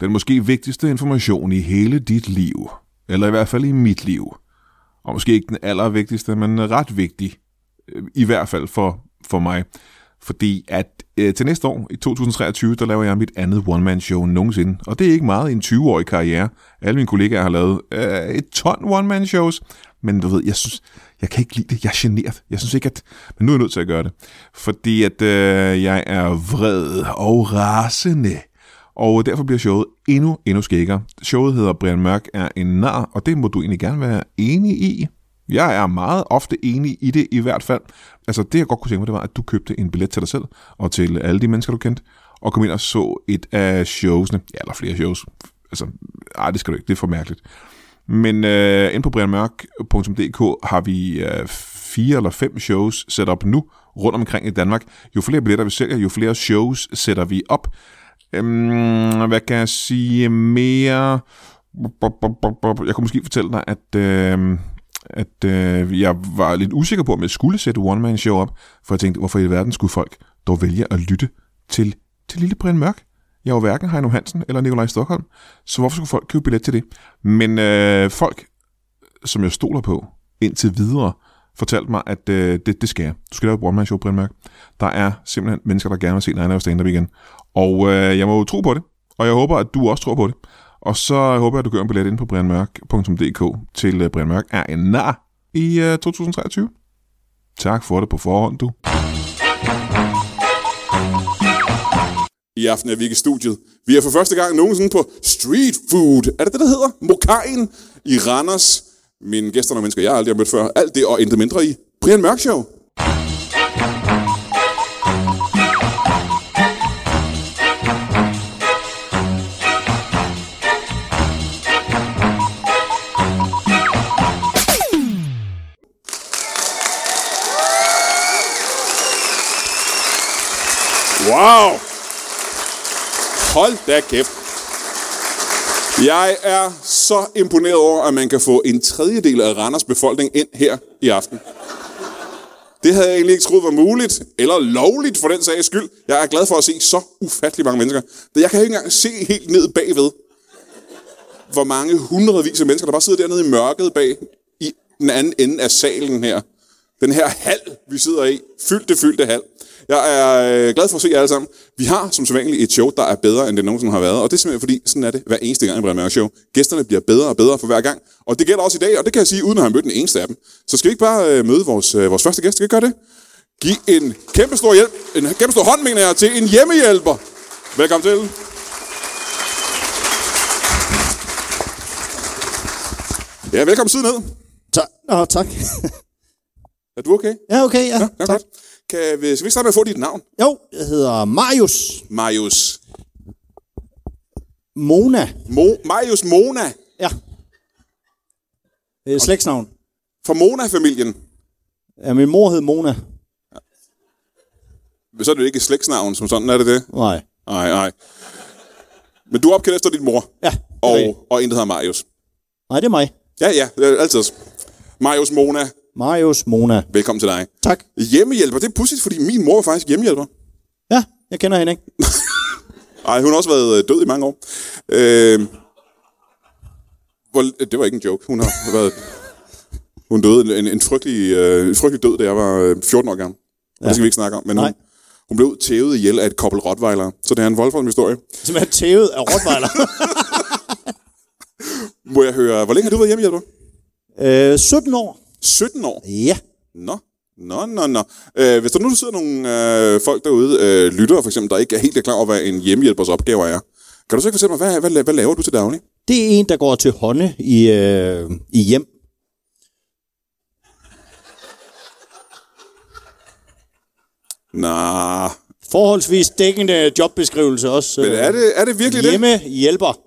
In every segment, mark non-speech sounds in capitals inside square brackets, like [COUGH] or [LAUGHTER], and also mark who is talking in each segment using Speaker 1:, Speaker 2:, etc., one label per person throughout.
Speaker 1: Den måske vigtigste information i hele dit liv, eller i hvert fald i mit liv. Og måske ikke den allervigtigste, men ret vigtig, øh, i hvert fald for, for mig. Fordi at øh, til næste år, i 2023, der laver jeg mit andet one-man-show nogensinde. Og det er ikke meget i en 20-årig karriere. Alle mine kollegaer har lavet øh, et ton one-man-shows. Men du ved, jeg synes, jeg kan ikke lide det. Jeg er generet. Jeg synes ikke, at... Men nu er jeg nødt til at gøre det. Fordi at øh, jeg er vred og rasende. Og derfor bliver showet endnu, endnu skækkere. Showet hedder Brian Mørk er en nar, og det må du egentlig gerne være enig i. Jeg er meget ofte enig i det i hvert fald. Altså det jeg godt kunne tænke mig, det var, at du købte en billet til dig selv og til alle de mennesker, du kendte, og kom ind og så et af showsene, ja, eller flere shows. Altså, ej, det skal du ikke, det er for mærkeligt. Men øh, inde på brianmørk.dk har vi øh, fire eller fem shows sat op nu rundt omkring i Danmark. Jo flere billetter vi sælger, jo flere shows sætter vi op. Øhm, hvad kan jeg sige mere? Jeg kunne måske fortælle dig, at... Øh, at øh, jeg var lidt usikker på, om jeg skulle sætte One Man Show op, for jeg tænkte, hvorfor i verden skulle folk dog vælge at lytte til, til Lille Brian Mørk? Jeg er jo hverken Heino Hansen eller Nikolaj Stockholm, så hvorfor skulle folk købe billet til det? Men øh, folk, som jeg stoler på indtil videre, fortalte mig, at øh, det, det skal jeg. Du skal lave et One Man Show, Brian Mørk. Der er simpelthen mennesker, der gerne vil se dig lave stand-up igen. Og øh, jeg må jo tro på det, og jeg håber, at du også tror på det. Og så håber jeg, at du gør en billet ind på brianmørk.dk til øh, Brian Mørk er en nar i øh, 2023. Tak for det på forhånd, du.
Speaker 2: I aften er vi ikke i studiet. Vi er for første gang nogensinde på street food. Er det det, der hedder? Mokajen i Randers. Mine gæster og mennesker, jeg aldrig har mødt før. Alt det og intet mindre i Brian Mørk Show. Wow! Hold da kæft. Jeg er så imponeret over, at man kan få en tredjedel af Randers befolkning ind her i aften. Det havde jeg egentlig ikke troet var muligt, eller lovligt for den sags skyld. Jeg er glad for at se så ufattelig mange mennesker. Jeg kan ikke engang se helt ned bagved, hvor mange hundredvis af mennesker, der bare sidder dernede i mørket bag i den anden ende af salen her. Den her hal, vi sidder i. Fyldte, fyldte hal. Jeg er øh, glad for at se jer alle sammen. Vi har som sædvanligt et show, der er bedre, end det nogensinde har været. Og det er simpelthen fordi, sådan er det hver eneste gang i Brian Mørk Show. Gæsterne bliver bedre og bedre for hver gang. Og det gælder også i dag, og det kan jeg sige, uden at have mødt den eneste af dem. Så skal vi ikke bare øh, møde vores, øh, vores første gæst? Skal vi gøre det? Giv en kæmpe stor hjælp, en kæmpe stor hånd, mener jeg, til en hjemmehjælper. Velkommen til. Ja, velkommen siden ned.
Speaker 3: Tak. Nå, tak. [LAUGHS]
Speaker 2: Er du okay?
Speaker 3: ja, okay, ja.
Speaker 2: Ja,
Speaker 3: tak.
Speaker 2: godt. Kan vi, skal vi starte med at få dit navn?
Speaker 3: Jo, jeg hedder Marius
Speaker 2: Marius.
Speaker 3: Mona.
Speaker 2: Mo- Marius Mona.
Speaker 3: Ja. Det er slægtsnavn.
Speaker 2: Fra Mona-familien.
Speaker 3: Ja, min mor hed Mona.
Speaker 2: Så er det jo ikke et slægtsnavn som sådan, er det det?
Speaker 3: Nej.
Speaker 2: Nej, nej. Men du er opkaldt efter din mor,
Speaker 3: Ja. det er rigtigt.
Speaker 2: og, og en, der hedder Marius.
Speaker 3: Nej, det er mig.
Speaker 2: Ja, ja, det er altid. os. Marius Mona,
Speaker 3: Marius Mona.
Speaker 2: velkommen til dig.
Speaker 3: Tak.
Speaker 2: Hjemmehjælper, det er pudsigt, fordi min mor var faktisk hjemmehjælper.
Speaker 3: Ja, jeg kender hende ikke. [LAUGHS]
Speaker 2: Ej, hun har også været øh, død i mange år. Øh, hvor, det var ikke en joke. Hun har været... Hun døde en, en, frygtelig, øh, en frygtelig død, da jeg var øh, 14 år gammel. Ja. Det skal vi ikke snakke om, men hun,
Speaker 3: Nej.
Speaker 2: hun blev tævet ihjel af et kobbel rottweiler. Så det er en voldsom historie.
Speaker 3: Som er tævet af rottweiler. [LAUGHS]
Speaker 2: Må jeg høre, hvor længe har du været hjemmehjælper?
Speaker 3: øh, 17 år.
Speaker 2: 17 år?
Speaker 3: Ja.
Speaker 2: Nå, nå, nå, nå. Øh, hvis der nu sidder nogle øh, folk derude, øh, lyttere for eksempel, der ikke er helt klar over, hvad en hjemmehjælpers opgaver er, kan du så ikke fortælle mig, hvad, hvad, la- hvad laver du til daglig?
Speaker 3: Det er en, der går til hånde i, øh, i hjem.
Speaker 2: Nå,
Speaker 3: Forholdsvis dækkende jobbeskrivelse også. øh,
Speaker 2: men er det, er det virkelig Hjemme.
Speaker 3: Hjemme hjælper.
Speaker 2: det?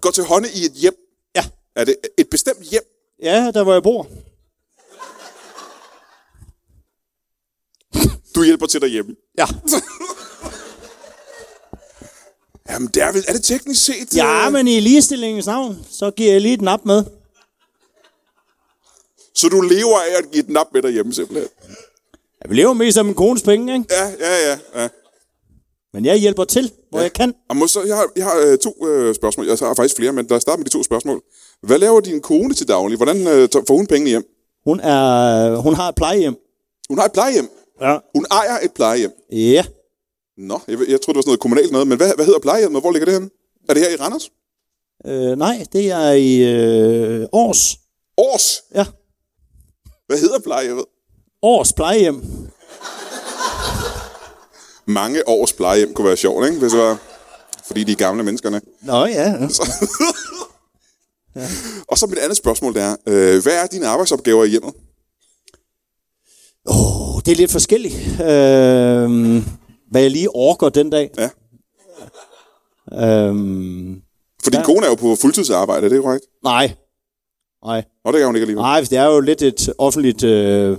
Speaker 2: Går til hånde i et hjem.
Speaker 3: Ja.
Speaker 2: Er det et bestemt hjem?
Speaker 3: Ja, der hvor jeg bor.
Speaker 2: Du hjælper til derhjemme.
Speaker 3: Ja.
Speaker 2: Jamen, det er, vel, er det teknisk set?
Speaker 3: Ja,
Speaker 2: øh,
Speaker 3: men i ligestillingens navn, så giver jeg lige et nap med.
Speaker 2: Så du lever af at give et nap med derhjemme, simpelthen?
Speaker 3: Jeg lever mest af min kones penge, ikke?
Speaker 2: Ja, ja, ja. ja.
Speaker 3: Men jeg hjælper til, hvor ja. jeg kan.
Speaker 2: Og må så, jeg, har, jeg har øh, to øh, spørgsmål. Jeg har faktisk flere, men lad os starte med de to spørgsmål. Hvad laver din kone til daglig? Hvordan øh, t- får hun pengene hjem?
Speaker 3: Hun, er, hun har et plejehjem.
Speaker 2: Hun har et plejehjem.
Speaker 3: Ja.
Speaker 2: Hun ejer et plejehjem.
Speaker 3: Ja.
Speaker 2: Nå, jeg, ved- jeg troede, det var sådan noget kommunalt noget, men hvad, hvad hedder plejehjemmet, og hvor ligger det henne? Er det her i Randers?
Speaker 3: Øh, nej, det er i øh, Års.
Speaker 2: Års!
Speaker 3: Ja.
Speaker 2: Hvad hedder plejehjemmet?
Speaker 3: Års plejehjem.
Speaker 2: Mange års plejehjem kunne være sjovt, ikke? Hvis det var, fordi de er gamle menneskerne.
Speaker 3: Nå ja. ja.
Speaker 2: Og så mit andet spørgsmål, det er, øh, hvad er dine arbejdsopgaver i hjemmet?
Speaker 3: Uh, Det er lidt forskelligt, øh, hvad jeg lige orker den dag.
Speaker 2: Ja.
Speaker 3: Øh,
Speaker 2: For din ja. kone er jo på fuldtidsarbejde, er det korrekt?
Speaker 3: nej. Nej.
Speaker 2: Og det kan hun ikke alligevel.
Speaker 3: Mm. Nej, for det er jo lidt et offentligt øh,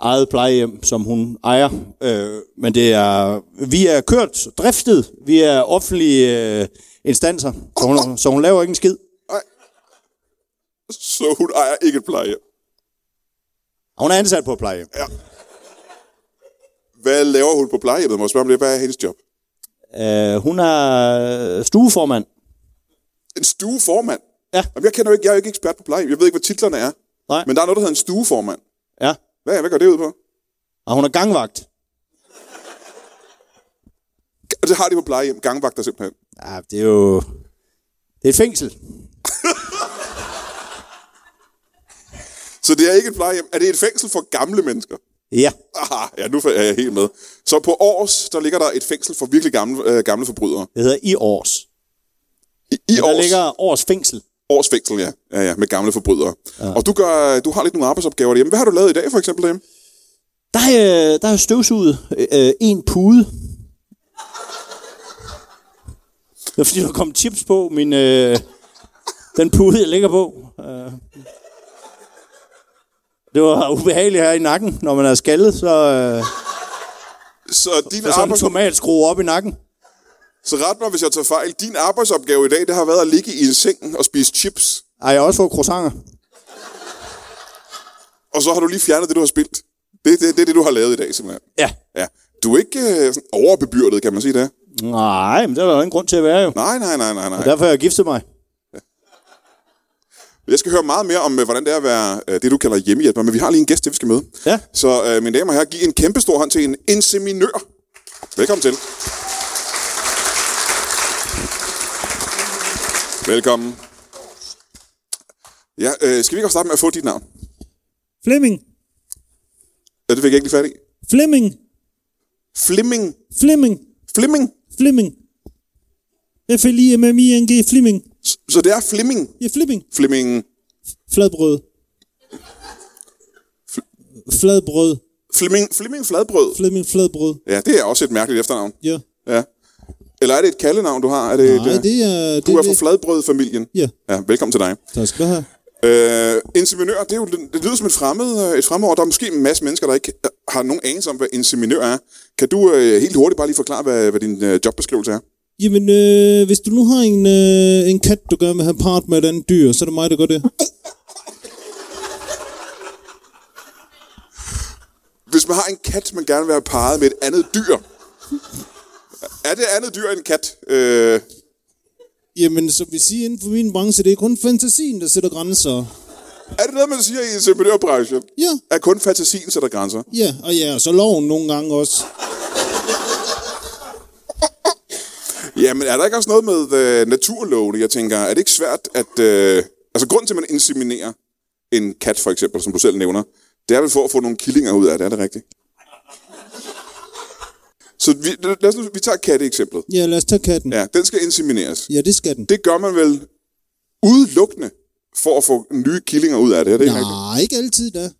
Speaker 3: eget plejehjem, som hun ejer. Øh, men det er, vi er kørt, driftet, vi er offentlige øh, instanser, så hun, så hun laver ikke en skid.
Speaker 2: Så hun ejer ikke et plejehjem.
Speaker 3: Hun er ansat på et plejehjem.
Speaker 2: Hvad laver hun på plejehjemmet? Må jeg spørge om det? Hvad er hendes job?
Speaker 3: Øh, hun er stueformand.
Speaker 2: En stueformand?
Speaker 3: Ja.
Speaker 2: Jamen, jeg, kender jo ikke, jeg er jo ikke ekspert på plejehjem. Jeg ved ikke, hvad titlerne er.
Speaker 3: Nej.
Speaker 2: Men der er noget, der hedder en stueformand.
Speaker 3: Ja.
Speaker 2: Hvad, hvad går det ud på?
Speaker 3: Og hun er gangvagt.
Speaker 2: Og det har de på plejehjem. Gangvagter simpelthen.
Speaker 3: Ja, det er jo... Det er et fængsel.
Speaker 2: Så det er ikke et plejehjem. Er det et fængsel for gamle mennesker?
Speaker 3: Ja.
Speaker 2: Aha, ja, nu er jeg helt med. Så på Års, der ligger der et fængsel for virkelig gamle, øh, gamle forbrydere.
Speaker 3: Det hedder i års.
Speaker 2: I, i
Speaker 3: Der
Speaker 2: års, ligger...
Speaker 3: ligger års fængsel.
Speaker 2: års fængsel, ja. ja, ja med gamle forbrydere. Ja. Og du, gør, du har lidt nogle arbejdsopgaver derhjemme. Hvad har du lavet i dag, for eksempel derhjemme?
Speaker 3: Der er, øh, der er støvsuget øh, øh, en pude. Det er fordi, der kom chips på min, øh, den pude, jeg ligger på. Øh. Det var ubehageligt her i nakken, når man er skaldet, så, øh,
Speaker 2: Så, din
Speaker 3: så sådan en
Speaker 2: arbejds...
Speaker 3: tomat skruer op i nakken.
Speaker 2: så ret mig, hvis jeg tager fejl. Din arbejdsopgave i dag, det har været at ligge i en seng og spise chips.
Speaker 3: Ej, jeg har også fået croissanter.
Speaker 2: Og så har du lige fjernet det, du har spildt. Det er det, det, er det, du har lavet i dag, simpelthen.
Speaker 3: Ja.
Speaker 2: Ja. Du er ikke øh, sådan overbebyrdet, kan man sige det.
Speaker 3: Nej, men det er der jo ingen grund til at være jo.
Speaker 2: Nej, nej, nej, nej, nej.
Speaker 3: Derfor har jeg giftet mig.
Speaker 2: Jeg skal høre meget mere om, øh, hvordan det er at være øh, det, du kalder hjemmehjælper, men vi har lige en gæst, det vi skal møde.
Speaker 3: Ja.
Speaker 2: Så øh, mine damer og herrer, giv en kæmpe stor hånd til en inseminør. Velkommen til. Velkommen. Ja, øh, skal vi ikke også starte med at få dit navn?
Speaker 4: Flemming.
Speaker 2: Ja, det fik jeg ikke lige fat i.
Speaker 4: Flemming.
Speaker 2: Fleming.
Speaker 4: Flemming.
Speaker 2: Fleming.
Speaker 4: Flemming. F-L-I-M-M-I-N-G. Flemming.
Speaker 2: Så det er Fleming.
Speaker 4: Ja, Flemming.
Speaker 2: Fleming.
Speaker 4: Fladbrød. Fladbrød.
Speaker 2: Fleming. Fleming Fladbrød.
Speaker 4: Flemming Fladbrød.
Speaker 2: Ja, det er også et mærkeligt efternavn.
Speaker 4: Ja.
Speaker 2: Ja. Eller er det et kaldenavn, du har? Er det
Speaker 4: Nej,
Speaker 2: et, øh,
Speaker 4: det er... Det,
Speaker 2: du er
Speaker 4: det-
Speaker 2: fra Fladbrød-familien.
Speaker 4: Ja,
Speaker 2: Ja, velkommen til dig.
Speaker 4: tak skal du have.
Speaker 2: Øh, inseminør, det, er jo, det lyder som et fremmed, øh, et fremmedord. Der er måske en masse mennesker, der ikke øh, har nogen anelse om, hvad inseminør er. Kan du øh, helt hurtigt bare lige forklare, hvad, hvad din øh, jobbeskrivelse er?
Speaker 4: Jamen, øh, hvis du nu har en, øh, en kat, du gerne vil have part med et andet dyr, så er det mig, der gør det.
Speaker 2: Hvis man har en kat, man gerne vil have parret med et andet dyr. Er det andet dyr end kat? Øh,
Speaker 4: Jamen, som vi siger inden for min branche, det er kun fantasien, der sætter grænser.
Speaker 2: er det noget, man siger i inseminørbranchen?
Speaker 4: Ja,
Speaker 2: Er kun fantasien sætter grænser?
Speaker 4: ja, og ja, og så loven nogle gange også.
Speaker 2: Ja, men er der ikke også noget med øh, naturlovene, jeg tænker? Er det ikke svært at... Øh, altså, grund til, at man inseminerer en kat, for eksempel, som du selv nævner, det er vel for at få nogle killinger ud af det, er det rigtigt? Så vi, lad os nu, vi tager katteeksemplet.
Speaker 4: Ja, lad os tage katten.
Speaker 2: Ja, den skal insemineres.
Speaker 4: Ja, det skal den.
Speaker 2: Det gør man vel udelukkende for at få nye killinger ud af det, er det ikke rigtigt?
Speaker 4: Nej, ikke altid da.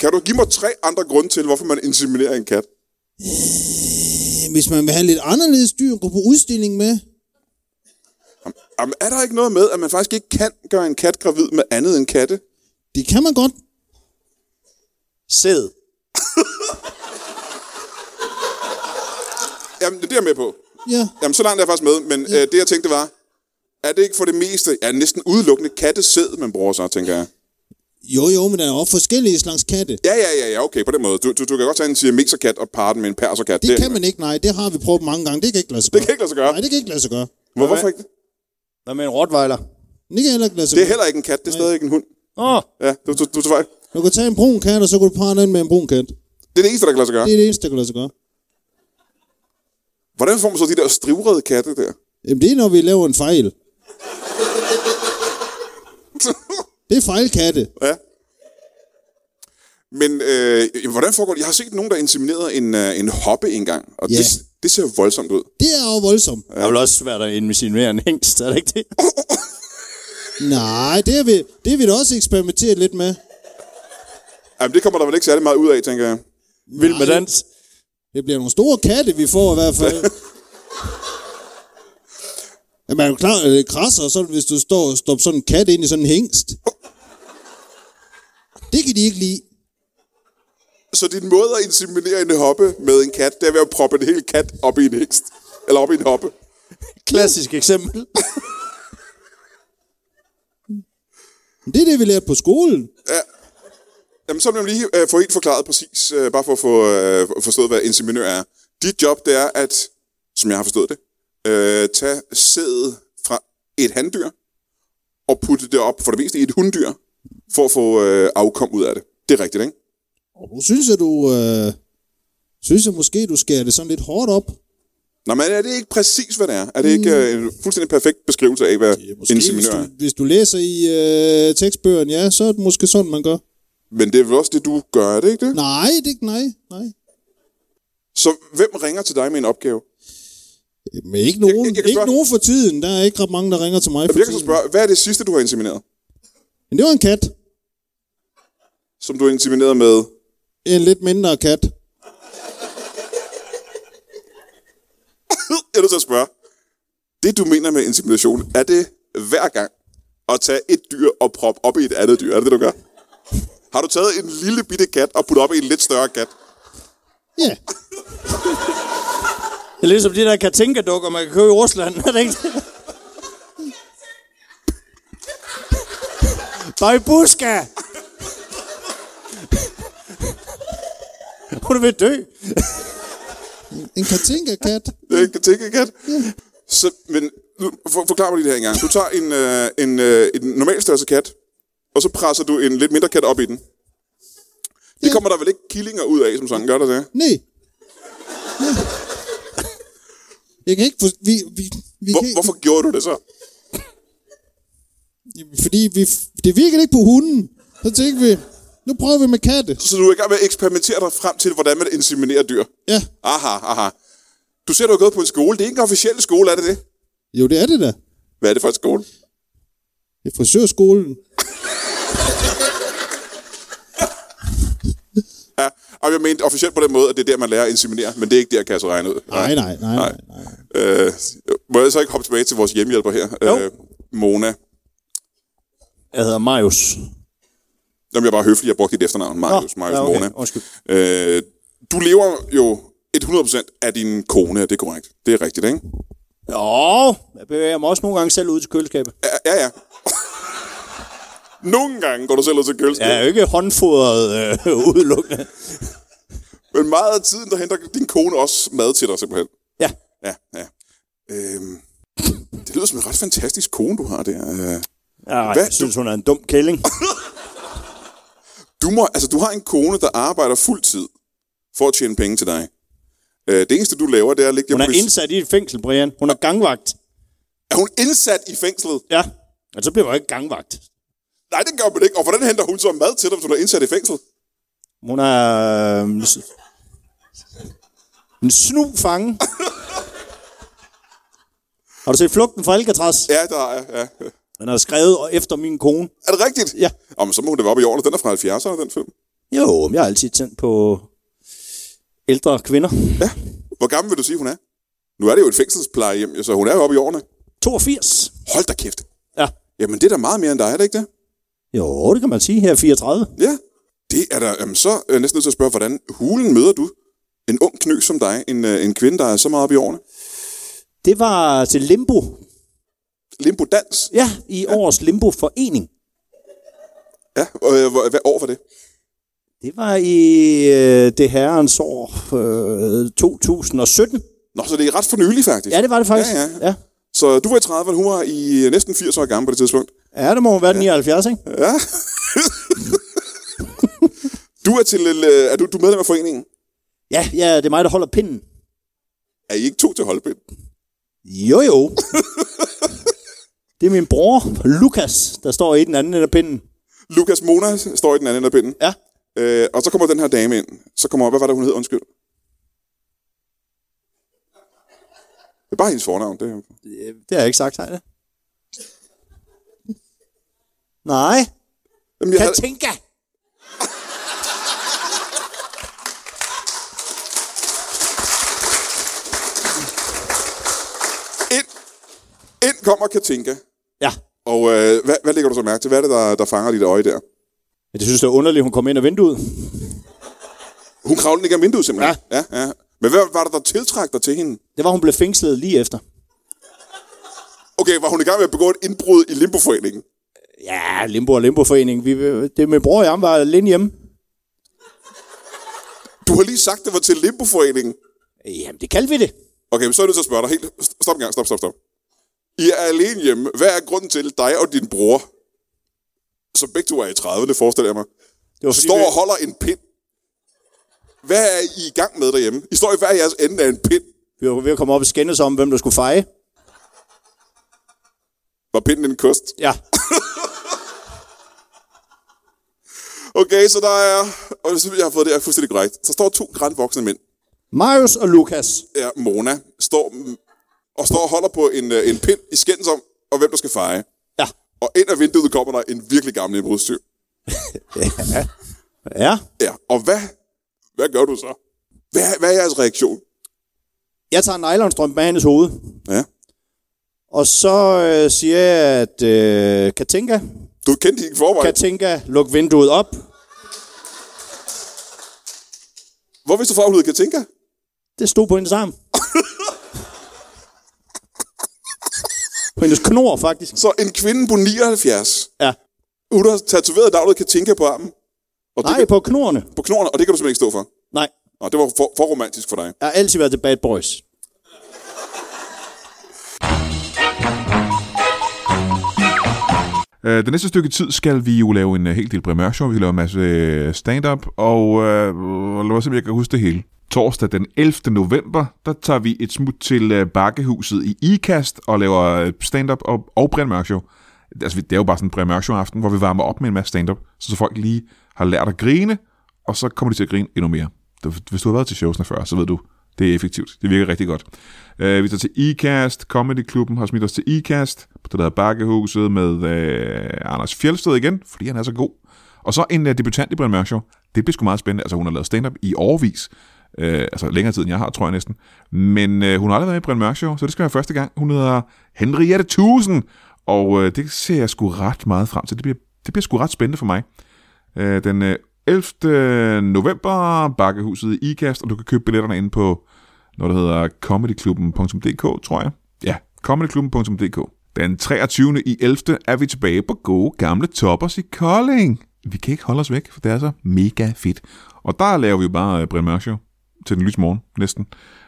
Speaker 2: Kan du give mig tre andre grunde til, hvorfor man inseminerer en kat?
Speaker 4: Øh, Hvis man vil have lidt anderledes dyr at gå på udstilling med.
Speaker 2: Jamen, er der ikke noget med, at man faktisk ikke kan gøre en kat gravid med andet end katte?
Speaker 4: Det kan man godt.
Speaker 3: Sæd.
Speaker 2: Jamen, det er jeg med på.
Speaker 4: Ja,
Speaker 2: Jamen, så langt er jeg faktisk med, men øh, det jeg tænkte var, er det ikke for det meste, ja, næsten udelukkende kattesæd, man bruger så, tænker jeg.
Speaker 4: Jo, jo, men der er jo forskellige slags katte.
Speaker 2: Ja, ja, ja, ja, okay, på den måde. Du, du, du kan godt tage en siameserkat og parre den med en perserkat.
Speaker 4: Det kan man ikke, nej. Det har vi prøvet mange gange. Det kan ikke lade sig
Speaker 2: Det
Speaker 4: gøre.
Speaker 2: kan ikke [LAUGHS] lade sig gøre.
Speaker 4: Nej, det kan ikke lade sig gøre.
Speaker 2: Hvor, hvorfor ikke? det?
Speaker 3: Hvad med en rottweiler?
Speaker 4: Det kan heller ikke lade sig
Speaker 2: Det er
Speaker 4: gøre.
Speaker 2: heller ikke en kat, det er stadig ikke en hund.
Speaker 3: Åh, oh,
Speaker 2: Ja, du, du, du tager fejl.
Speaker 4: Du kan tage en brun kat, og så kan du parre den med en brun kat.
Speaker 2: Det er det eneste, der kan lade sig gøre.
Speaker 4: Det er det eneste, der kan lade sig gøre.
Speaker 2: Hvordan får man så de der strivrede katte der?
Speaker 4: Jamen, det er, når vi laver en
Speaker 2: [LAUGHS]
Speaker 4: fejl. Det er fejlkatte.
Speaker 2: ja. Men øh, hvordan foregår det? Jeg har set nogen, der inseminerede en, øh, en hoppe engang, og
Speaker 4: Ja.
Speaker 2: det, det ser voldsomt ud.
Speaker 4: Det er jo voldsomt.
Speaker 3: det er vel også svært at insinuere en hængst, er det ikke det?
Speaker 4: Nej, det har vi, det har vi da også eksperimenteret lidt med.
Speaker 2: Jamen, det kommer der vel ikke særlig meget ud af, tænker jeg.
Speaker 3: Vild med dans.
Speaker 4: Det bliver nogle store katte, vi får i hvert fald.
Speaker 3: [LAUGHS]
Speaker 4: Ja, man er jo klar, at det krasser, og så hvis du står og stopper sådan en kat ind i sådan en hængst. Det kan de ikke lide.
Speaker 2: Så din måde at inseminere en hoppe med en kat, det er ved at proppe en hel kat op i en hekst. Eller op i en hoppe.
Speaker 3: Klassisk eksempel.
Speaker 4: Men det er det, vi lærte på skolen.
Speaker 2: Jamen, så vil jeg lige øh, få helt forklaret præcis, øh, bare for at få øh, forstået, hvad inseminør er. Dit job, det er at, som jeg har forstået det, øh, tage sædet fra et handdyr og putte det op for det meste i et hunddyr, for at få øh, afkom ud af det. Det er rigtigt, ikke?
Speaker 4: Og nu synes jeg, du... Øh, synes jeg måske, du skærer det sådan lidt hårdt op.
Speaker 2: Nå, men er det ikke præcis, hvad det er? Er det ikke øh, en fuldstændig perfekt beskrivelse af, hvad
Speaker 4: Ja,
Speaker 2: ja,
Speaker 4: måske, hvis
Speaker 2: inseminør
Speaker 4: du,
Speaker 2: er?
Speaker 4: hvis du læser i øh, tekstbøgerne, ja, så er det måske sådan, man gør.
Speaker 2: Men det er vel også det, du gør, er det ikke det?
Speaker 4: Nej, det er ikke nej, nej.
Speaker 2: Så hvem ringer til dig med en opgave?
Speaker 4: Men ikke nogen,
Speaker 2: jeg
Speaker 4: jeg,
Speaker 2: kan
Speaker 4: jeg ikke
Speaker 2: spørge-
Speaker 4: nogen for tiden. Der er ikke ret mange, der ringer til mig for
Speaker 2: Jeg kan så
Speaker 4: tiden.
Speaker 2: spørge, hvad er det sidste, du har insemineret?
Speaker 4: Men det var en kat.
Speaker 2: Som du har insemineret med? [LAUGHS]
Speaker 4: En lidt mindre kat.
Speaker 2: Jeg er nødt til at spørge. Det, du mener med insemination, er det hver gang at tage et dyr og proppe op i et andet dyr? Er det det, du gør? Har du taget en lille bitte kat og puttet op i en lidt større kat?
Speaker 4: Ja,
Speaker 3: Det er ligesom de der katinka-dukker, man kan købe i Rusland, er det ikke det? Bajbuska! Hun er ved at dø.
Speaker 4: en katinka-kat.
Speaker 2: Det er ikke en tænkekat. Så, men nu, for, forklar mig lige det her engang. Du tager en, øh, en, øh, en normal størrelse kat, og så presser du en lidt mindre kat op i den. Det kommer der vel ikke killinger ud af, som sådan gør der det?
Speaker 4: Nej. Nej. Jeg kan ikke for, vi, vi, vi kan
Speaker 2: Hvor,
Speaker 4: ikke,
Speaker 2: hvorfor gjorde du det så?
Speaker 4: Fordi vi, det virkede ikke på hunden. Så tænkte vi, nu prøver vi med katte.
Speaker 2: Så du er i gang med at eksperimentere dig frem til, hvordan man inseminerer dyr?
Speaker 4: Ja,
Speaker 2: Aha, aha. Du ser, du har gået på en skole. Det er ikke en officiel skole, er det det?
Speaker 4: jo det er det da.
Speaker 2: Hvad er det for en skole?
Speaker 4: Det er frisørskolen.
Speaker 2: Ja, og jeg mente officielt på den måde, at det er der, man lærer at inseminere, men det er ikke der, Kasse regne ud.
Speaker 4: Nej, nej, nej, nej. nej.
Speaker 2: Øh, må jeg så ikke hoppe tilbage til vores hjemmehjælper her?
Speaker 3: Jo.
Speaker 2: Øh, Mona.
Speaker 3: Jeg hedder Marius.
Speaker 2: Jamen, jeg var høflig, jeg brugte dit efternavn, Marius, Marius ja, okay. Mona.
Speaker 3: Undskyld.
Speaker 2: Øh, du lever jo 100% af din kone, er det korrekt? Det er rigtigt, ikke?
Speaker 3: Jo, jeg bevæger mig også nogle gange selv ud til køleskabet.
Speaker 2: Ja, ja. [LAUGHS] ja. Nogle gange går du selv ud til
Speaker 3: Jeg er
Speaker 2: køleskabet,
Speaker 3: jo ikke håndfodret øh, [LAUGHS] udelukkende.
Speaker 2: men meget af tiden, der henter din kone også mad til dig, simpelthen.
Speaker 3: Ja,
Speaker 2: Ja, ja. Øhm, det lyder som en ret fantastisk kone, du har der. Øh,
Speaker 3: Ej,
Speaker 2: Hvad?
Speaker 3: jeg synes, hun er en dum kælling.
Speaker 2: Du, må, altså, du har en kone, der arbejder fuld tid for at tjene penge til dig. Øh, det eneste, du laver, det er at ligge
Speaker 3: Hun
Speaker 2: hjemme
Speaker 3: er
Speaker 2: på dis-
Speaker 3: indsat i et fængsel, Brian. Hun er gangvagt.
Speaker 2: Er hun indsat i fængslet?
Speaker 3: Ja, og så bliver hun ikke gangvagt.
Speaker 2: Nej, det gør man ikke. Og hvordan henter hun så mad til dig, hvis hun er indsat i fængslet?
Speaker 3: Hun er... Øh, en s- en snu fange. Har du set Flugten fra Alcatraz?
Speaker 2: Ja, der er ja.
Speaker 3: Den er skrevet og efter min kone.
Speaker 2: Er det rigtigt?
Speaker 3: Ja.
Speaker 2: Åh, men så må hun da være oppe i årene. Den er fra 70'erne, den film.
Speaker 3: Jo, men jeg har altid tændt på ældre kvinder.
Speaker 2: Ja. Hvor gammel vil du sige, hun er? Nu er det jo et fængselsplejehjem, jo, så hun er jo oppe i årene.
Speaker 3: 82.
Speaker 2: Hold da kæft.
Speaker 3: Ja.
Speaker 2: Jamen, det er da meget mere end dig, er det ikke det?
Speaker 3: Jo, det kan man sige. Her er 34.
Speaker 2: Ja, det er der. Jamen, så er jeg næsten nødt til at spørge, hvordan hulen møder du en ung knø som dig, en, øh, en kvinde, der er så meget oppe i årene?
Speaker 3: Det var til Limbo.
Speaker 2: Limbo dans?
Speaker 3: Ja, i årets Limbo-forening.
Speaker 2: Ja, og, øh, hvor- hvad år var det?
Speaker 3: Det var i øh, det herrens år øh, 2017.
Speaker 2: Nå, så det er ret for nylig faktisk.
Speaker 3: Ja, det var det faktisk.
Speaker 2: Ja,
Speaker 3: ja.
Speaker 2: Så du var i 30'erne, hun var i øh, næsten 80 år gammel på det tidspunkt.
Speaker 3: ja. ja det må være den 79, ikke?
Speaker 2: Ja. du er til, øh, er du, du er medlem af foreningen?
Speaker 3: Ja, ja, det er mig, der holder pinden.
Speaker 2: Er I ikke to til Holbæk?
Speaker 3: Jo, jo. [LAUGHS] det er min bror, Lukas, der står i den anden ende af pinden.
Speaker 2: Lukas Mona står i den anden ende af pinden.
Speaker 3: Ja.
Speaker 2: Øh, og så kommer den her dame ind. Så kommer, hvad var det, hun hed? Undskyld. Det er bare hendes fornavn. Det.
Speaker 3: Det har jeg ikke sagt, har jeg det? Nej.
Speaker 2: Jamen, jeg, havde,
Speaker 3: Katinka!
Speaker 2: ind, ind kommer Katinka.
Speaker 3: Ja.
Speaker 2: Og øh, hvad, hvad lægger du så mærke til? Hvad er det, der, der fanger dit øje der?
Speaker 3: ja. Det synes jeg er underligt, hun kom ind ad vinduet.
Speaker 2: Hun kravlede ikke af vinduet, simpelthen. Ja. ja, ja. Men hvad var det, der tiltrak dig til hende?
Speaker 3: Det var, hun blev fængslet lige efter.
Speaker 2: Okay, var hun i gang med at begå et indbrud i Limboforeningen?
Speaker 3: Ja, Limbo og Limboforening. Vi, det er min bror og jeg, var alene hjemme.
Speaker 2: Du har lige sagt, det var til Limboforeningen.
Speaker 3: Øh, Jamen, det kaldte vi det.
Speaker 2: Okay, men så er jeg nødt til at spørge dig helt... Stop en gang, stop, stop, stop. I er alene hjemme. Hvad er grunden til, at dig og din bror, som begge to er i 30'erne, forestiller jeg mig,
Speaker 3: Det var, fordi
Speaker 2: står og
Speaker 3: vi,
Speaker 2: holder en pind? Hvad er I i gang med derhjemme? I står i hver jeres ende af en pind.
Speaker 3: vi var ved at komme op og skændes om, hvem der skulle feje.
Speaker 2: Var pinden en kost?
Speaker 3: Ja.
Speaker 2: Okay, så der er... Og hvis jeg har fået det her fuldstændig korrekt. Så står to grænvoksne mænd.
Speaker 3: Marius og Lukas.
Speaker 2: Ja, Mona står og står og holder på en, øh, en pind i skændes om, og hvem der skal feje.
Speaker 3: Ja.
Speaker 2: Og ind ad vinduet kommer der en virkelig gammel indbrudstyv.
Speaker 3: Ja.
Speaker 2: Ja, og hvad, hvad gør du så? Hvad, hvad er jeres reaktion?
Speaker 3: Jeg tager nylonstrømpe med hendes hoved.
Speaker 2: Ja.
Speaker 3: Og så øh, siger jeg, at øh, Katinka,
Speaker 2: Du kendte hende i forvejen. Kat.
Speaker 3: Katinka, luk vinduet op.
Speaker 2: Hvor vidste du fra, hun hed Katinka?
Speaker 3: Det stod på hendes [LAUGHS] arm. på hendes knor, faktisk.
Speaker 2: Så en kvinde på 79.
Speaker 3: Ja.
Speaker 2: Hun har tatoveret navnet Katinka på armen. Og det
Speaker 3: Nej,
Speaker 2: kan,
Speaker 3: på knorene.
Speaker 2: på knorene, og det kan du simpelthen ikke stå for.
Speaker 3: Nej,
Speaker 2: Nå, det var for, for romantisk for dig.
Speaker 3: jeg har altid været til bad boys.
Speaker 1: Øh, det næste stykke tid skal vi jo lave en øh, hel del primærshow. Vi skal lave en masse øh, stand-up, og øh, lad os se, om jeg kan huske det hele. Torsdag den 11. november, der tager vi et smut til øh, Bakkehuset i Ikast og laver øh, stand-up og, og primærshow. Altså, vi- det er jo bare sådan en primærshow-aften, hvor vi varmer op med en masse stand-up, så, så folk lige har lært at grine, og så kommer de til at grine endnu mere. Det- Hvis du har været til showsene før, så ved du, det er effektivt. Det virker rigtig godt. Øh, vi tager til Ecast. Comedy Klubben har smidt os til Ecast. På det der hedder Bakkehuset med øh, Anders Fjeldsted igen, fordi han er så god. Og så en øh, debutant i Brian Mørk Show. Det bliver sgu meget spændende. Altså hun har lavet stand-up i overvis. Øh, altså længere tid end jeg har, tror jeg næsten. Men øh, hun har aldrig været med i Brian Mørk Show, så det skal være første gang. Hun hedder Henriette Tusen. Og øh, det ser jeg sgu ret meget frem til. Det bliver, det bliver sgu ret spændende for mig. Øh, den øh, 11. november, Bakkehuset i IKAST, og du kan købe billetterne inde på noget, der hedder comedyklubben.dk, tror jeg. Ja, comedyklubben.dk. Den 23. i 11. er vi tilbage på gode gamle toppers i Kolding. Vi kan ikke holde os væk, for det er så mega fedt. Og der laver vi jo bare øh, Brian Mørk Show til den lyse morgen, næsten.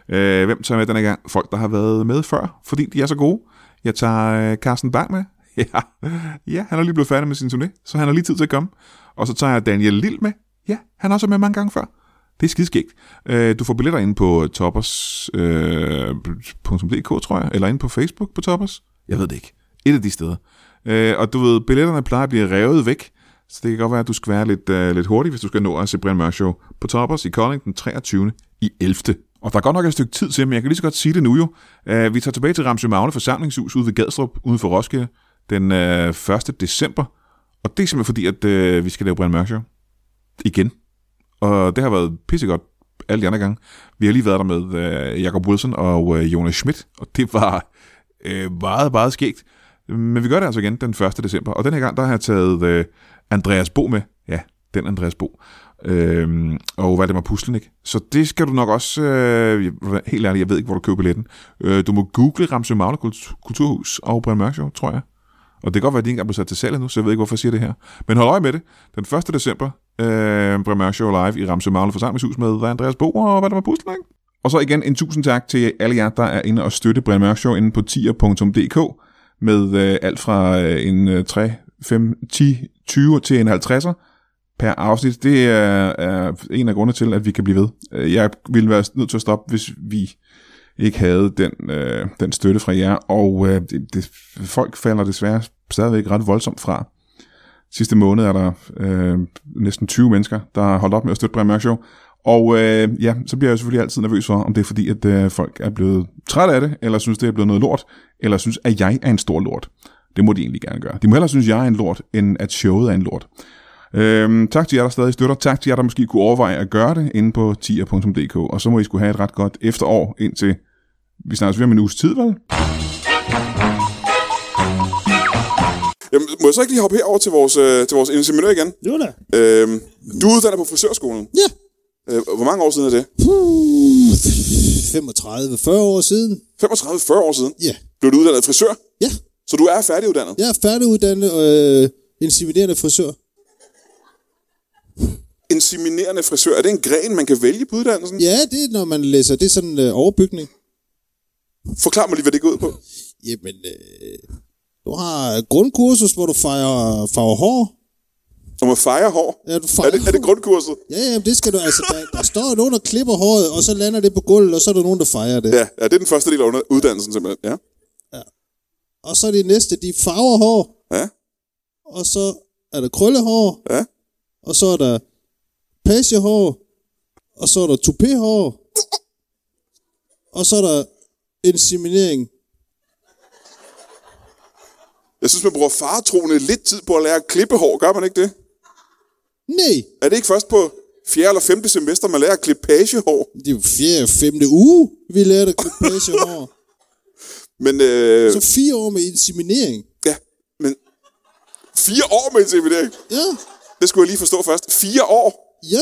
Speaker 1: Øh, hvem tager med denne gang? Folk, der har været med før, fordi de er så gode. Jeg tager øh, Carsten Bang med. [LAUGHS] Ja. ja, han er lige blevet færdig med sin turné, så han har lige tid til at komme. Og så tager jeg Daniel Lille med. Ja, han har også været med mange gange før. Det er skideskægt. Øh, du får billetter ind på toppers.dk, øh, .dk, tror jeg, eller ind på Facebook på Toppers. Jeg ved det ikke. Et af de steder. Øh, og du ved, billetterne plejer at blive revet væk, så det kan godt være, at du skal være lidt, øh, lidt hurtig, hvis du skal nå at se Brian Mørk Show på Toppers i Kolding den 23. i 11. Og der er godt nok et stykke tid til, men jeg kan lige så godt sige det nu jo. Øh, vi tager tilbage til Ramsø Magne forsamlingshus ude ved Gadstrup, uden for Roskilde, den øh, 1. december. Og det er simpelthen fordi, at øh, vi skal lave Brian Mørk Show. Igen. Og det har været pissegodt alle de andre gange. Vi har lige været der med øh, Jacob Wilson og øh, Jonas Schmidt, og det var øh, meget, meget skægt. Men vi gør det altså igen den 1. december, og den her gang, der har jeg taget øh, Andreas Bo med. Ja, den Andreas Bo. Øhm, og Valdemar Puslenik. Så det skal du nok også... Øh, jeg- helt ærligt, jeg ved ikke, hvor du køber billetten. Øh, du må google Ramsø Magle Kulturhus og Brian Mørk Show, tror jeg. Og det kan godt være, at de ikke engang blev sat til salg endnu, så jeg ved ikke, hvorfor jeg siger det her. Men hold øje med det. Den 1. december, øh, Bramør Show Live i Ramse Magle forsamlingshus med hvad Andreas Bo og hvad der var Puslang. Og så igen en tusind tak til alle jer, der er inde og støtte Brian Mørk Show inde på tier.dk med øh, alt fra øh, en øh, 3, 5, 10, 20 til en 50'er per afsnit. Det er, er en af grundene til, at vi kan blive ved. Øh, Jeg ville være nødt til at stoppe, hvis vi ikke havde den, øh, den støtte fra jer, og øh, det, det, folk falder desværre stadigvæk ret voldsomt fra. Sidste måned er der øh, næsten 20 mennesker, der har holdt op med at støtte Brian Mørk Show. Og øh, ja, så bliver jeg jo selvfølgelig altid nervøs for, om det er fordi, at øh, folk er blevet træt af det, eller synes, det er blevet noget lort, eller synes, at jeg er en stor lort. Det må de egentlig gerne gøre. De må hellere synes, jeg er en lort, end at showet er en lort. Øhm, tak til jer, der stadig støtter. Tak til jer, der måske kunne overveje at gøre det inde på tier.dk. Og så må I skulle have et ret godt efterår indtil... Vi snakkes ved om en uges tid, vel?
Speaker 2: Jamen, må jeg så ikke lige hoppe herover til vores, øh, til vores inseminør igen?
Speaker 4: Jo da.
Speaker 2: Øhm, du er uddannet på frisørskolen.
Speaker 4: Ja.
Speaker 2: Øh, hvor mange år siden er det?
Speaker 4: Puh, 35-40 år siden.
Speaker 2: 35-40 år siden
Speaker 4: Ja.
Speaker 2: blev du uddannet frisør,
Speaker 4: Ja.
Speaker 2: så du er færdiguddannet.
Speaker 4: Jeg er færdiguddannet øh, inseminerende frisør.
Speaker 2: Inseminerende frisør, er det en gren, man kan vælge på uddannelsen?
Speaker 4: Ja, det er, når man læser. Det er sådan en øh, overbygning.
Speaker 2: Forklar mig lige, hvad det går ud på.
Speaker 4: Jamen, øh, du har et grundkursus, hvor du fejrer, farver hår.
Speaker 2: Når man fejrer hår.
Speaker 4: Ja, du
Speaker 2: Er
Speaker 4: fejrer
Speaker 2: det, er det grundkurset?
Speaker 4: Ja, ja, men det skal du, altså, der, der står nogen, der klipper håret, og så lander det på gulvet, og så er der nogen, der fejrer det. Ja.
Speaker 2: Ja, ja, det er den første del af under- uddannelsen simpelthen. Ja.
Speaker 4: Og så er det næste, de farver hår,
Speaker 2: Ja.
Speaker 4: og så er der krøllehår,
Speaker 2: Ja.
Speaker 4: og så er der pagehår, og så er der toupéhår, og så er der inseminering.
Speaker 2: Jeg synes, man bruger faretroende lidt tid på at lære at klippe hår. Gør man ikke det?
Speaker 4: Nej,
Speaker 2: Er det ikke først på 4. eller 5. semester, man lærer at klippe pagehår?
Speaker 4: det er jo fjerde, femte uge, vi lærte at klippe pagehår.
Speaker 2: Men, øh,
Speaker 4: Så fire år med inseminering.
Speaker 2: ja, men... Fire år med inseminering.
Speaker 4: Ja,
Speaker 2: Det skulle jeg lige forstå først. Fire år,
Speaker 4: ja.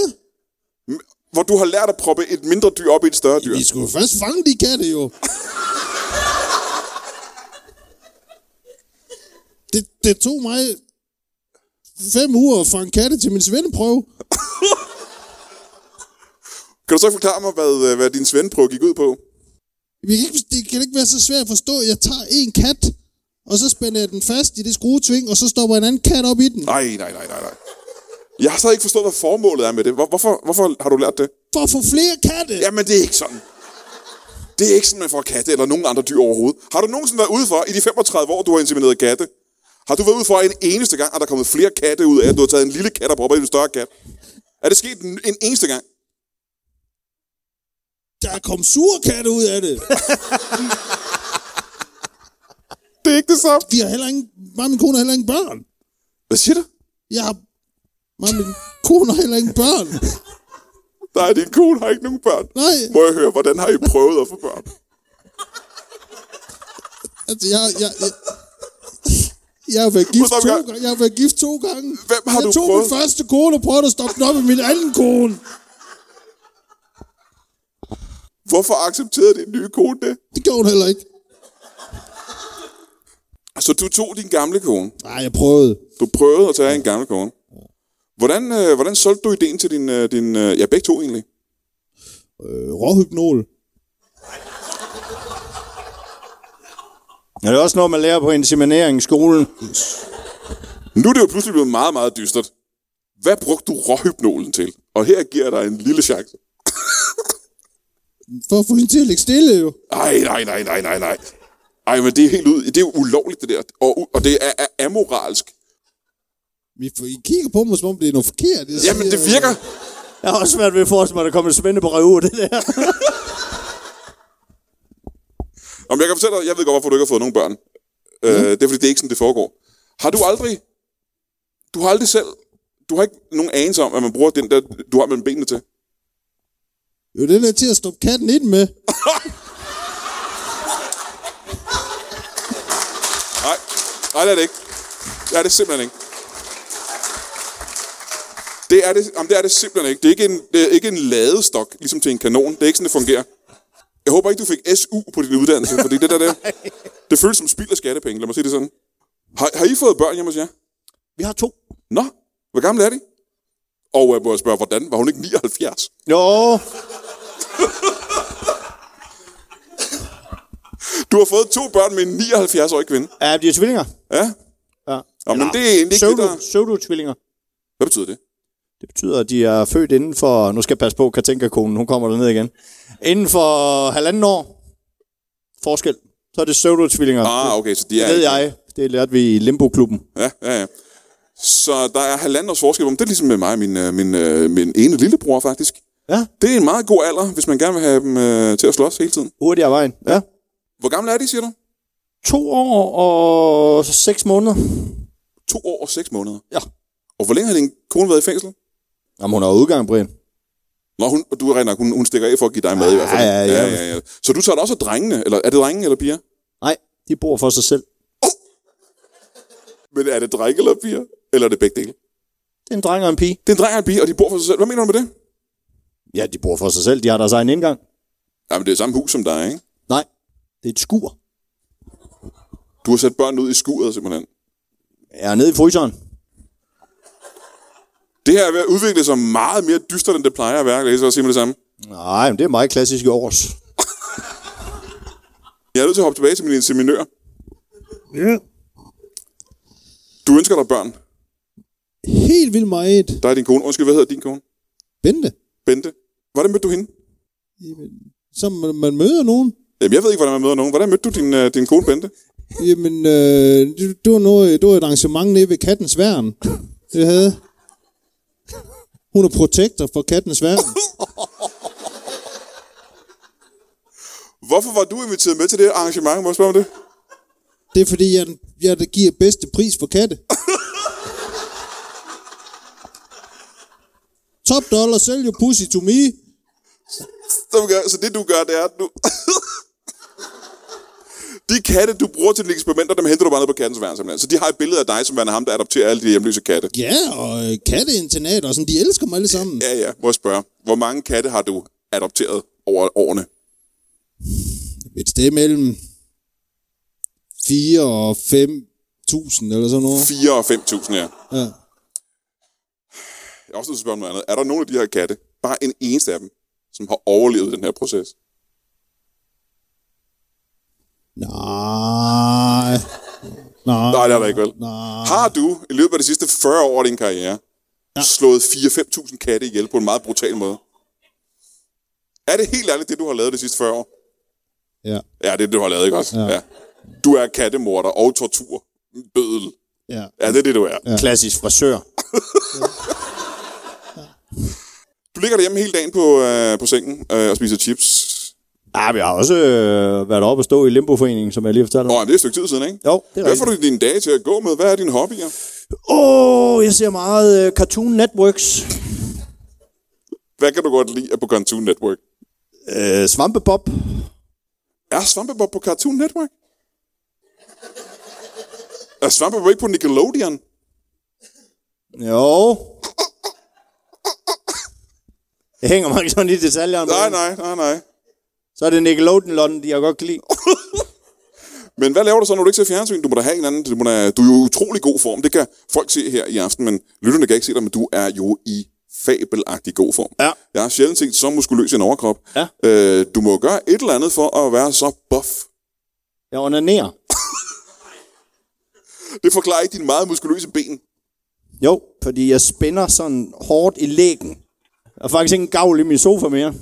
Speaker 2: hvor du har lært at proppe et mindre dyr op i et større dyr.
Speaker 4: Vi skulle jo først fange de katte, jo. Det, det tog mig fem uger at fange katte til min svendeprøve.
Speaker 2: Kan du så ikke forklare mig, hvad, øh, hvad din svendeprøve gik ud på?
Speaker 4: Vi kan ikke, det kan ikke være så svært at forstå. Jeg tager en kat, og så spænder jeg den fast i det skruetving, og så stopper en anden kat op i den.
Speaker 2: Nej, nej, nej, nej, nej. Jeg har så ikke forstået, hvad formålet er med det. Hvor, hvorfor, hvorfor har du lært det?
Speaker 4: For at få flere katte!
Speaker 2: Jamen, det er ikke sådan. Det er ikke sådan, man får katte eller nogen andre dyr overhovedet. Har du nogensinde været ude for, i de 35 år, du har insemineret katte, har du været ude for en eneste gang, at der er kommet flere katte ud af, at du har taget en lille kat og proppet i en større kat? Er det sket en, en eneste gang?
Speaker 4: Der kom sure katte ud af det.
Speaker 2: Det er ikke det samme.
Speaker 4: Vi har heller ingen... Mig og min kone har heller ingen børn.
Speaker 2: Hvad siger du?
Speaker 4: Jeg har... Mig og min kone har heller ingen børn.
Speaker 2: Nej, din kone har ikke nogen børn.
Speaker 4: Nej.
Speaker 2: Må jeg høre, hvordan har I prøvet at få børn?
Speaker 4: Altså, jeg, jeg, jeg, jeg har været gift
Speaker 2: Stop en
Speaker 4: to
Speaker 2: gang.
Speaker 4: gange. Jeg har været gift to gange.
Speaker 2: Hvem har
Speaker 4: jeg
Speaker 2: du
Speaker 4: tog
Speaker 2: prøvet?
Speaker 4: min første kone og prøvede at stoppe den op i min anden kone.
Speaker 2: Hvorfor accepterede din nye kone det?
Speaker 4: Det gjorde hun heller ikke.
Speaker 2: Så Altså, du tog din gamle kone.
Speaker 4: Nej, jeg prøvede.
Speaker 2: Du prøvede at tage en gammel kone. Hvordan, øh, hvordan solgte du ideen til din, øh, din øh, ja, begge to egentlig?
Speaker 4: Øh, råhypnol.
Speaker 3: Ja, det er også noget, man lærer på inseminering i skolen.
Speaker 2: Nu er det jo pludselig blevet meget, meget dystert. Hvad brugte du råhypnolen til? Og her giver jeg dig en lille chance.
Speaker 4: For at få hende til at ligge stille, jo.
Speaker 2: Ej, nej, nej, nej, nej, nej. Ej, men det er helt ud. Det er jo ulovligt, det der. Og, u- og det er, er amoralsk.
Speaker 4: Vi får, I kigger på mig, som om det er noget forkert. Jeg
Speaker 2: Jamen,
Speaker 4: siger, øh,
Speaker 2: det virker.
Speaker 3: Jeg har også svært ved at forestille mig, at der kommer et spændende brev ud af det der.
Speaker 2: Om jeg kan fortælle dig, jeg ved godt, hvorfor du ikke har fået nogen børn. Øh, det er, fordi det er ikke sådan, det foregår. Har du aldrig... Du har aldrig selv... Du har ikke nogen anelse om, at man bruger den der, du har mellem benene til.
Speaker 4: øh, Jo, den er til at stoppe katten ind med.
Speaker 2: Nej, nej, det er det ikke. Det er det simpelthen ikke. Det er det, jamen, det er det simpelthen ikke. Det er ikke, en, det er ikke en ladestok, ligesom til en kanon. Det er ikke sådan, det fungerer. Jeg
Speaker 3: [LAUGHS]
Speaker 2: håber ikke, du fik SU på din uddannelse, fordi det der, der det føles som spild af skattepenge. Lad mig sige det sådan. Har, har I fået børn hjemme hos jer?
Speaker 3: Vi har to.
Speaker 2: Nå, hvor gamle er de? Og jeg må jeg spørge, hvordan? Var hun ikke 79?
Speaker 3: Jo,
Speaker 2: Du har fået to børn med en 79-årig kvinde.
Speaker 3: ja, de er tvillinger.
Speaker 2: Ja?
Speaker 3: Ja.
Speaker 2: Nå, men det er egentlig ikke det, der...
Speaker 3: Pseudo- Pseudo-tvillinger.
Speaker 2: Hvad betyder det?
Speaker 3: Det betyder, at de er født inden for... Nu skal jeg passe på, Katinka-konen, hun kommer derned igen. Inden for halvanden år forskel. Så er det pseudo-tvillinger.
Speaker 2: Ah, okay, så de er...
Speaker 3: det ved
Speaker 2: ikke-
Speaker 3: jeg. Det lærte vi i Limbo-klubben.
Speaker 2: Ja, ja, ja. Så der er halvandet års forskel på dem. Det er ligesom med mig og min, øh, min, øh, min ene lillebror, faktisk.
Speaker 3: Ja.
Speaker 2: Det er en meget god alder, hvis man gerne vil have dem øh, til at slås hele tiden.
Speaker 3: Hurtigere af vejen. Ja.
Speaker 2: Hvor gamle er de, siger du?
Speaker 3: To år og seks måneder.
Speaker 2: To år og seks måneder.
Speaker 3: Ja.
Speaker 2: Og hvor længe har din kone været i fængsel?
Speaker 3: Jamen, hun har udgang, Brian.
Speaker 2: Nå, hun, du er rent nok, hun, hun stikker af for at give dig mad i hvert fald.
Speaker 3: Ja, ja, ja.
Speaker 2: ja, ja. Så du tager det også af drengene, eller er det drenge eller piger?
Speaker 3: Nej, de bor for sig selv.
Speaker 2: Men er det drenge eller piger? Eller er det begge dele?
Speaker 3: Det er en dreng og en pige.
Speaker 2: Det er en dreng og en pige, og de bor for sig selv. Hvad mener du med det?
Speaker 3: Ja, de bor for sig selv. De har deres egen indgang.
Speaker 2: Jamen, det er samme hus som dig, ikke?
Speaker 3: Nej, det er et skur.
Speaker 2: Du har sat børn ud i skuret, simpelthen.
Speaker 3: Jeg er nede i fryseren.
Speaker 2: Det her er ved at udvikle sig meget mere dystert, end det plejer at være. Kan Jeg så sige med det samme.
Speaker 3: Nej, men det er meget klassisk i års.
Speaker 2: Jeg er nødt til at hoppe tilbage til min inseminør.
Speaker 3: Ja.
Speaker 2: Du ønsker dig børn.
Speaker 4: Helt vildt meget.
Speaker 2: Der er din kone. Undskyld, hvad hedder din kone?
Speaker 4: Bente.
Speaker 2: Bente. Hvordan mødte du hende?
Speaker 4: Jamen, Så man, man møder nogen.
Speaker 2: Jamen, jeg ved ikke, hvordan man møder nogen. Hvordan mødte du din, øh, din kone, Bente?
Speaker 4: Jamen, øh, det, det, var noget, det var et arrangement nede ved Kattens Værn. Det havde. Hun er protektor for Kattens Værn.
Speaker 2: Hvorfor var du inviteret med til det arrangement? Må jeg spørge om det?
Speaker 4: Det er fordi, jeg, er den- jeg er der giver bedste pris for katte. Top dollar, sælg jo pussy to me.
Speaker 2: Så, vi gør- så det, du gør, det er, at du... [LAUGHS] de katte, du bruger til dine eksperimenter, dem henter du bare ned på kattens værn, simpelthen. Så de har et billede af dig, som værende ham, der adopterer alle de hjemløse katte.
Speaker 4: Ja, og øh, katteinternat og sådan, de elsker mig alle sammen.
Speaker 2: Ja, ja. Må jeg spørge, hvor mange katte har du adopteret over årene?
Speaker 4: Et sted mellem 4 og 5.000 eller sådan noget.
Speaker 2: 4 og 5.000, ja.
Speaker 4: Ja.
Speaker 2: Jeg er også nødt til at spørge om noget andet. Er der nogen af de her katte, bare en eneste af dem, som har overlevet den her proces?
Speaker 4: Nej. Nej.
Speaker 2: Nej, det er der ikke vel. Har du i løbet af de sidste 40 år af din karriere ja. slået 4-5.000 katte ihjel på en meget brutal måde? Er det helt ærligt det, du har lavet de sidste 40 år?
Speaker 4: Ja.
Speaker 2: Ja, det er det, du har lavet, ikke også? Ja. ja. Du er kattemorder og tortur. Bødel.
Speaker 4: ja.
Speaker 2: Ja, det er det, du er. Ja.
Speaker 3: Klassisk frisør.
Speaker 2: Du ligger derhjemme hele dagen på, øh, på sengen øh, og spiser chips.
Speaker 3: Ja, Ah, vi har også øh, været oppe og stå i Limboforeningen, som jeg lige fortalte
Speaker 2: Nå,
Speaker 3: om.
Speaker 2: jamen, det er et stykke tid siden, ikke?
Speaker 3: Jo, det er
Speaker 2: Hvad får
Speaker 3: rigtigt.
Speaker 2: du dine dage til at gå med? Hvad er dine hobbyer?
Speaker 3: Åh, oh, jeg ser meget øh, Cartoon Networks.
Speaker 2: Hvad kan du godt lide på Cartoon Network?
Speaker 3: Øh, Svampebob.
Speaker 2: Er Svampebob på Cartoon Network? Er Svampebob ikke på Nickelodeon?
Speaker 3: Jo. Jeg hænger mig ikke sådan i detaljerne.
Speaker 2: Nej,
Speaker 3: men-
Speaker 2: nej, nej, nej.
Speaker 3: Så er det Nickelodeon, de jeg godt kan lide.
Speaker 2: Men hvad laver du så, når du ikke ser fjernsyn? Du må da have en anden. Du, må da, du er jo i utrolig god form. Det kan folk se her i aften, men lytterne kan ikke se dig, men du er jo i fabelagtig god form.
Speaker 3: Ja.
Speaker 2: Jeg har sjældent set så muskuløs i en overkrop.
Speaker 3: Ja.
Speaker 2: Øh, du må jo gøre et eller andet for at være så buff.
Speaker 3: Jeg onanerer.
Speaker 2: Det forklarer ikke dine meget muskuløse ben.
Speaker 3: Jo, fordi jeg spænder sådan hårdt i lægen. Jeg har faktisk ikke en gavl i min sofa mere.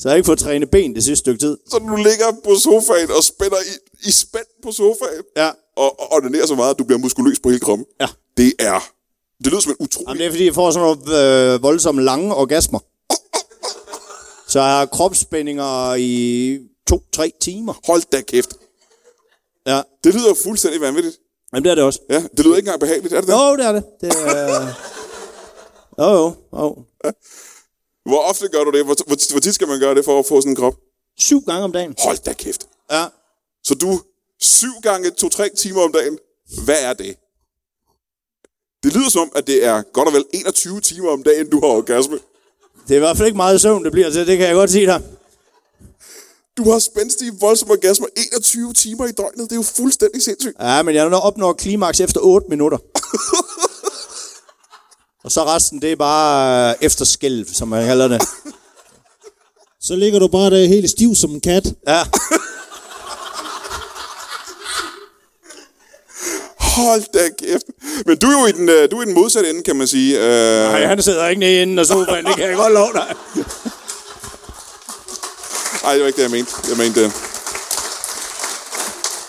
Speaker 3: Så jeg har ikke fået trænet ben det sidste stykke tid.
Speaker 2: Så du ligger på sofaen og spænder i, i spænd på sofaen.
Speaker 3: Ja.
Speaker 2: Og, og ordinerer så meget, at du bliver muskuløs på hele kroppen.
Speaker 3: Ja.
Speaker 2: Det er... Det lyder som en utrolig...
Speaker 3: Jamen, det er fordi, jeg får sådan nogle øh, voldsomme lange orgasmer. Så jeg har kropsspændinger i to-tre timer.
Speaker 2: Hold da kæft.
Speaker 3: Ja,
Speaker 2: Det lyder fuldstændig vanvittigt.
Speaker 3: Jamen, det er det også.
Speaker 2: Ja, det lyder ikke engang behageligt, er det det?
Speaker 3: Jo, det er det. det er... øh, Jo, jo, jo.
Speaker 2: Hvor ofte gør du det? Hvor, hvor, hvor tit skal man gøre det for at få sådan en krop?
Speaker 3: Syv gange om dagen.
Speaker 2: Hold da kæft.
Speaker 3: Ja.
Speaker 2: Så du syv gange to-tre timer om dagen. Hvad er det? Det lyder som om, at det er godt og vel 21 timer om dagen, du har orgasme.
Speaker 3: Det er i hvert fald ikke meget søvn, det bliver til. Det kan jeg godt sige dig.
Speaker 2: Du har spændstige, voldsomme orgasmer 21 timer i døgnet. Det er jo fuldstændig sindssygt.
Speaker 3: Ja, men jeg opnår klimaks efter 8 minutter. og så resten, det er bare øh, efterskælv, som man kalder det.
Speaker 4: Så ligger du bare der helt stiv som en kat.
Speaker 3: Ja,
Speaker 2: Hold da kæft. Men du er jo i den, øh, du er i den modsatte ende, kan man sige. Øh,
Speaker 3: Ej, han sidder ikke nede inden og sofaen, det kan jeg godt love dig.
Speaker 2: Ej, det var ikke det, jeg mente. Jeg mente det.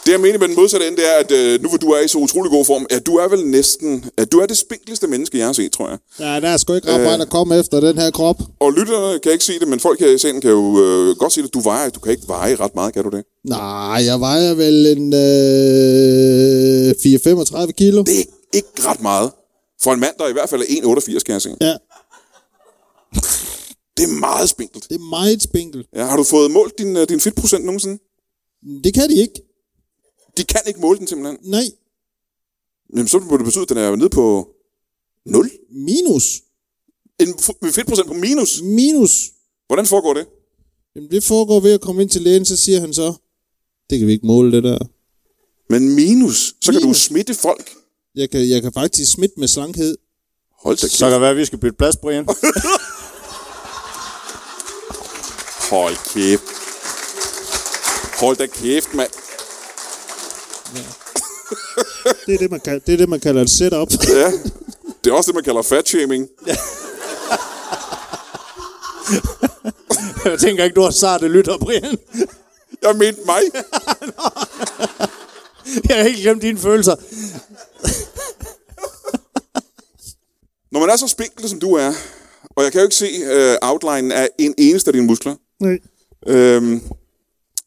Speaker 2: Det, jeg mener med den modsatte ende, det er, at øh, nu hvor du er i så utrolig god form, at du er vel næsten... At du er det spinkleste menneske, jeg har set, tror jeg.
Speaker 4: Ja, der er sgu ikke ret meget at komme efter den her krop.
Speaker 2: Og lytterne kan ikke se det, men folk her i scenen kan jo øh, godt se det. Du vejer, du kan ikke veje ret meget, kan du det?
Speaker 4: Nej, jeg vejer vel en øh, 4-35 kilo.
Speaker 2: Det er ikke, ikke ret meget. For en mand, der i hvert fald er 1,88, kan jeg se.
Speaker 4: Ja,
Speaker 2: Det er meget spinkelt.
Speaker 4: det er meget spinkel.
Speaker 2: Ja, har du fået målt din, øh, din fedtprocent nogensinde?
Speaker 4: Det kan de ikke.
Speaker 2: De kan ikke måle den simpelthen.
Speaker 4: Nej,
Speaker 2: Jamen, så må det betyde, at den er nede på 0.
Speaker 4: minus.
Speaker 2: En f- fedtprocent på minus.
Speaker 4: Minus.
Speaker 2: Hvordan foregår det?
Speaker 4: Jamen, det foregår ved at komme ind til lægen, så siger han så, det kan vi ikke måle det der.
Speaker 2: Men minus, så kan du
Speaker 4: Minus.
Speaker 2: smitte folk.
Speaker 4: Jeg kan, jeg kan faktisk smitte med slankhed.
Speaker 2: Hold da
Speaker 3: Så
Speaker 2: kæft.
Speaker 3: kan det være, at vi skal bytte plads, Brian.
Speaker 2: Hold kæft. Hold da kæft, mand.
Speaker 4: Det er det, man, kal- det, er det, man kalder et setup.
Speaker 2: Ja. Det er også det, man kalder fatshaming.
Speaker 3: Jeg tænker ikke, du har sarte lytter, Brian.
Speaker 2: Jeg mente mig.
Speaker 3: Jeg har helt glemt dine følelser.
Speaker 2: Når man er så spinkel, som du er, og jeg kan jo ikke se uh, outlinen af en eneste af dine muskler,
Speaker 4: Nej.
Speaker 2: øhm,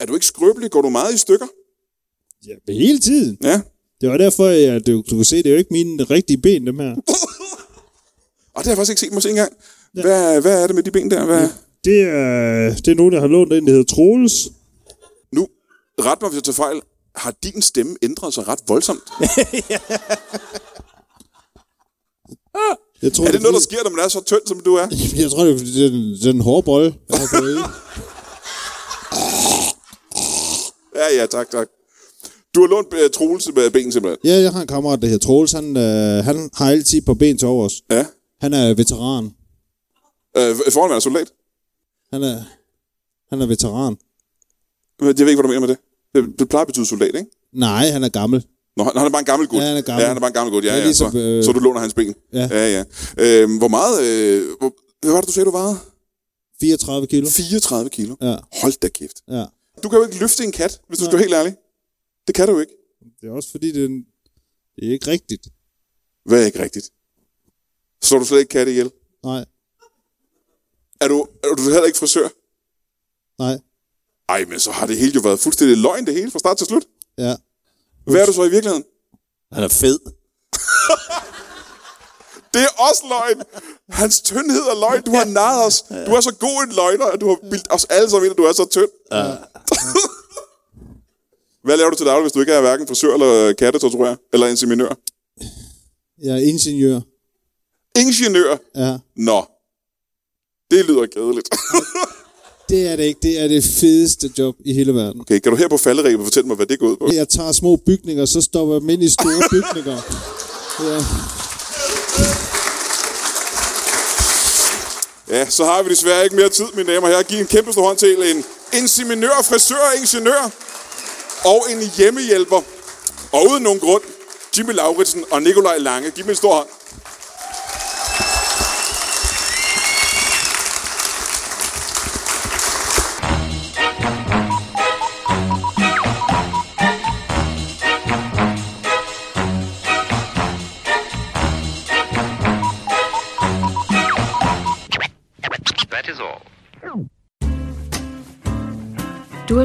Speaker 2: er du ikke skrøbelig? Går du meget i stykker?
Speaker 4: Ja, men hele tiden.
Speaker 2: Ja.
Speaker 4: Det var derfor, at du, du kan se, det er jo ikke mine rigtige ben, dem her.
Speaker 2: Og det har jeg faktisk ikke set mig se engang. Hvad, hvad er det med de ben der? Hvad?
Speaker 4: Det er, det er nogen, der har lånt en, der hedder Troels.
Speaker 2: Nu, ret mig, hvis jeg tager fejl. Har din stemme ændret sig ret voldsomt?
Speaker 4: Jeg tror,
Speaker 2: Er det noget, der
Speaker 4: fordi-
Speaker 2: sker, når man er så tynd, som du er?
Speaker 4: Jeg tror, det er, fordi det er den, det er den hårde bold, jeg har fået i.
Speaker 2: [LAUGHS] Ja, ja, tak, tak. Du har lånt uh, Troels med ben simpelthen.
Speaker 4: Ja, jeg har en kammerat, der hedder Troels. Han, øh, han har altid på ben til overs.
Speaker 2: Ja.
Speaker 4: Han er veteran.
Speaker 2: Øh, foran er soldat.
Speaker 4: Han er, han er veteran.
Speaker 2: Men Øh, Jeg ved ikke, hvad du mener med det. Det, det plejer at betyde soldat, ikke?
Speaker 4: Nej, han er gammel.
Speaker 2: Nå, han han er bare en gammel gut.
Speaker 4: Ja, han er gammel.
Speaker 2: Ja, han er bare en gammel gut. Ja,
Speaker 4: Ja,
Speaker 2: ja,
Speaker 4: ligesom,
Speaker 2: så,
Speaker 4: øh,
Speaker 2: så du låner hans ben.
Speaker 4: Ja.
Speaker 2: ja. ja. Øhm, hvor meget... Øh, hvor, hvad var det, du sagde, du vejede?
Speaker 4: 34 kilo.
Speaker 2: 34 kilo.
Speaker 4: Ja,
Speaker 2: Hold da kæft.
Speaker 4: ja.
Speaker 2: Du kan jo ikke løfte en kat, hvis du skal være helt ærlig. Det kan du ikke.
Speaker 4: Det er også fordi, det er, en- det er ikke rigtigt.
Speaker 2: Hvad er ikke rigtigt? Slår du slet ikke katte ihjel?
Speaker 4: Nej,
Speaker 2: Er du, er du heller ikke frisør?
Speaker 4: nej,
Speaker 2: Ej, men så har det hele jo været fuldstændig løgn, det hele, fra start til slut.
Speaker 4: ja.
Speaker 2: Hvad er du så i virkeligheden?
Speaker 3: Han er fed.
Speaker 2: Det er også løgn. Hans tyndhed er løgn. Du har narret os. Du er så god en løgner, at du har bildt os alle sammen ind, at du er så tynd. Ja. Hvad laver du til daglig, hvis du ikke er hverken frisør eller kattetorturør? Eller inseminør?
Speaker 4: Jeg er ingeniør.
Speaker 2: Ingeniør?
Speaker 4: Ja.
Speaker 2: Nå. Det lyder kedeligt.
Speaker 4: Det er det ikke. Det er det fedeste job i hele verden.
Speaker 2: Okay, kan du her på falderæbet fortælle mig, hvad det går ud på?
Speaker 4: Jeg tager små bygninger, så stopper jeg dem ind i store bygninger. Ja.
Speaker 2: Ja, så har vi desværre ikke mere tid, mine damer og herrer. Giv en kæmpe stor hånd til en inseminør, frisør, ingeniør og en hjemmehjælper. Og uden nogen grund, Jimmy Lauritsen og Nikolaj Lange. Giv dem en stor hånd.
Speaker 5: That is all.
Speaker 6: Du har